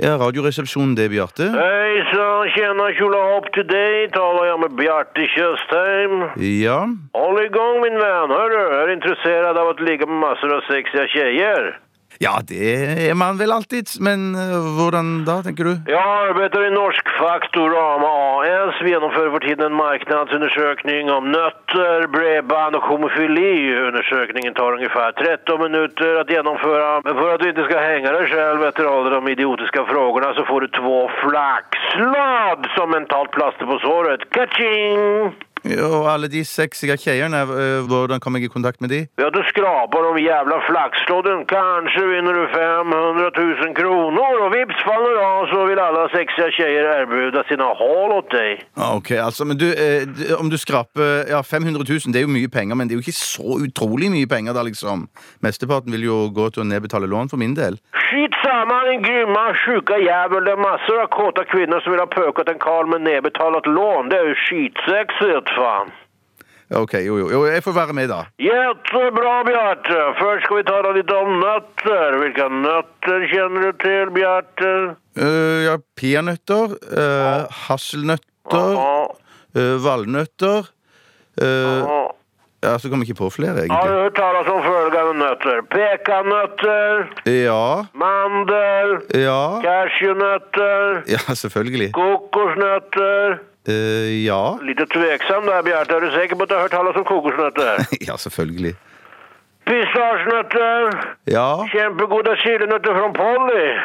Ja, Radioresepsjonen, det er Bjarte. Hei sann, tjena tjola up to date. Talar jag med Bjarte Tjøstheim. Ja. Håll igång min vän, hörru. Är du intresserad av att ligga med massor av sexiga tjejer? Ja, det er man vel alltid, men eh, hvordan da, tenker du? Jag arbetar i norsk Faktorama AS. Vi genomför för tiden en marknadsundersökning om nötter, bredband och homofili. Undersökningen tar ungefär 13 minuter att genomföra. Men för att du inte ska hänga dig själv efter alla de idiotiska frågorna så får du två flaxsladd som mentalt plaster på såret. Kaching! Ja, Og alle de sexy tjeierne, eh, hvordan kom jeg i kontakt med de? Ja, du skrapar de jävla flaxlodden. Kanske vinner du 500 000 kronor och vips faller det av så vill alla sexiga tjejer erbjuda sina hål åt dig. Ah, Ok, altså, men du, eh, d- om du skraper ja, 500 000, det er jo mye penger, men det er jo ikke så utrolig mye penger da, liksom. Mesteparten vil jo gå til å nedbetale lån for min del. Skitsamma din grymma sjuka jävel. Det är massor av kåta kvinnor som vill ha pökat en karl med nedbetalat lån. Det är ju skitsexigt fan. Ja, Ok, jo, jo, jo, jeg får være med da. Jättebra Bjarte! Först ska vi tala lite om nötter. Vilka nötter känner du till Bjarte? Eh, ja, peanøtter, eh, hasselnøtter, Ja, eh, valnøtter. eh, ja. ja, så kom jeg ikke på flere, Har du egentlig. hört talas om följande nötter? Pekanötter. Ja, Mandel, ja, cashewnötter, ja, selvfølgelig. kokosnötter. Eh, ja, Lite tveksam där Bjarte, är du säker på att du har hört talas om kokosnötter? ja, selvfølgelig. Pistagenötter, Ja, kämpegoda chilinötter från Polly.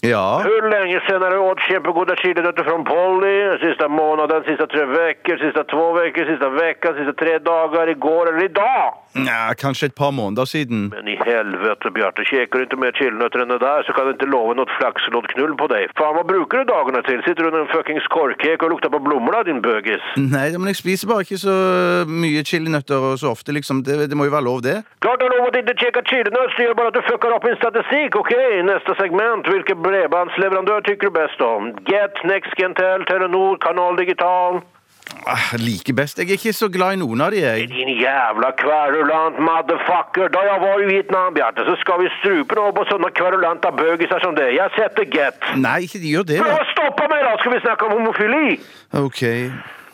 ja. Hur länge sedan har du åt kämpegoda chilinötter från Polly? Sista månaden, sista tre veckor, sista två veckor, sista veckan, sista tre dagar, igår eller idag? Nja, kanskje et par måneder siden. Men i helvete Bjarte, käkar du inte mer chilinötter än det där så kan du inte lova något flaxlådknull på dig. Fan vad brukar du dagarna till? Sitter du under en fucking skorkek og luktar på blommorna din bögis? Nei, men jeg spiser bare ikke så eh, mye chilinøtter og så ofte, liksom. Det, det må jo være lov, det. Klart du har lovat inte käka chilinötter, det gör bara att du fuckar upp min statistik. Okej, nästa segment. Vilken bredbandsleverandör tycker du bäst om? Get, Nextgentel, Telenor, Kanal Digital. Ah, like best. Jeg er ikke så glad i noen av de, jeg. Din jävla kverulant motherfucker. Da jeg var i Vietnam, Bjarte, så skal vi strupen over på sånne kverulanta bögisar som dig. Jeg setter get. Nei, ikke de gjør det, Men da. vad stoppa mig då, ska vi snakke om homofili? Ok.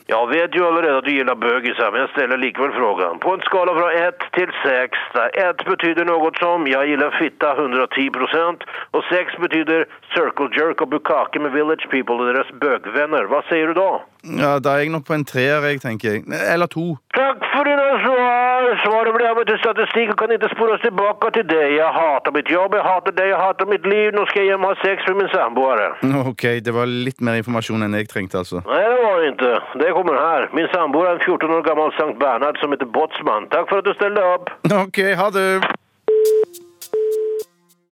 Jag vet ju allerede att du gillar bögisar, men jag ställer likväl frågan. På en skala från 1 till 6, där 1 betyder något som jag gillar fitta 110 procent och 6 betyder circle jerk och bukake med village people och deras bögvänner. Vad säger du då? Ja, da er jeg nok på en treer, jeg, tenker jeg. Eller to. Tack för dina svar! Svaren blir använt till statistik och kan inte spåras tillbaka till dig. Jag hatar mitt jobb, jag hatar dig, jag hatar mitt liv. Nu ska jag hem och ha sex med min samboare. Ok, det var litt mer informasjon enn jeg trengte, altså. Nej, det var det inte. Det kommer här. Min sambo är en 14 år gammal Sankt Bernhard som heter Botsman. Tack för att du ställde upp. Ok, ha det.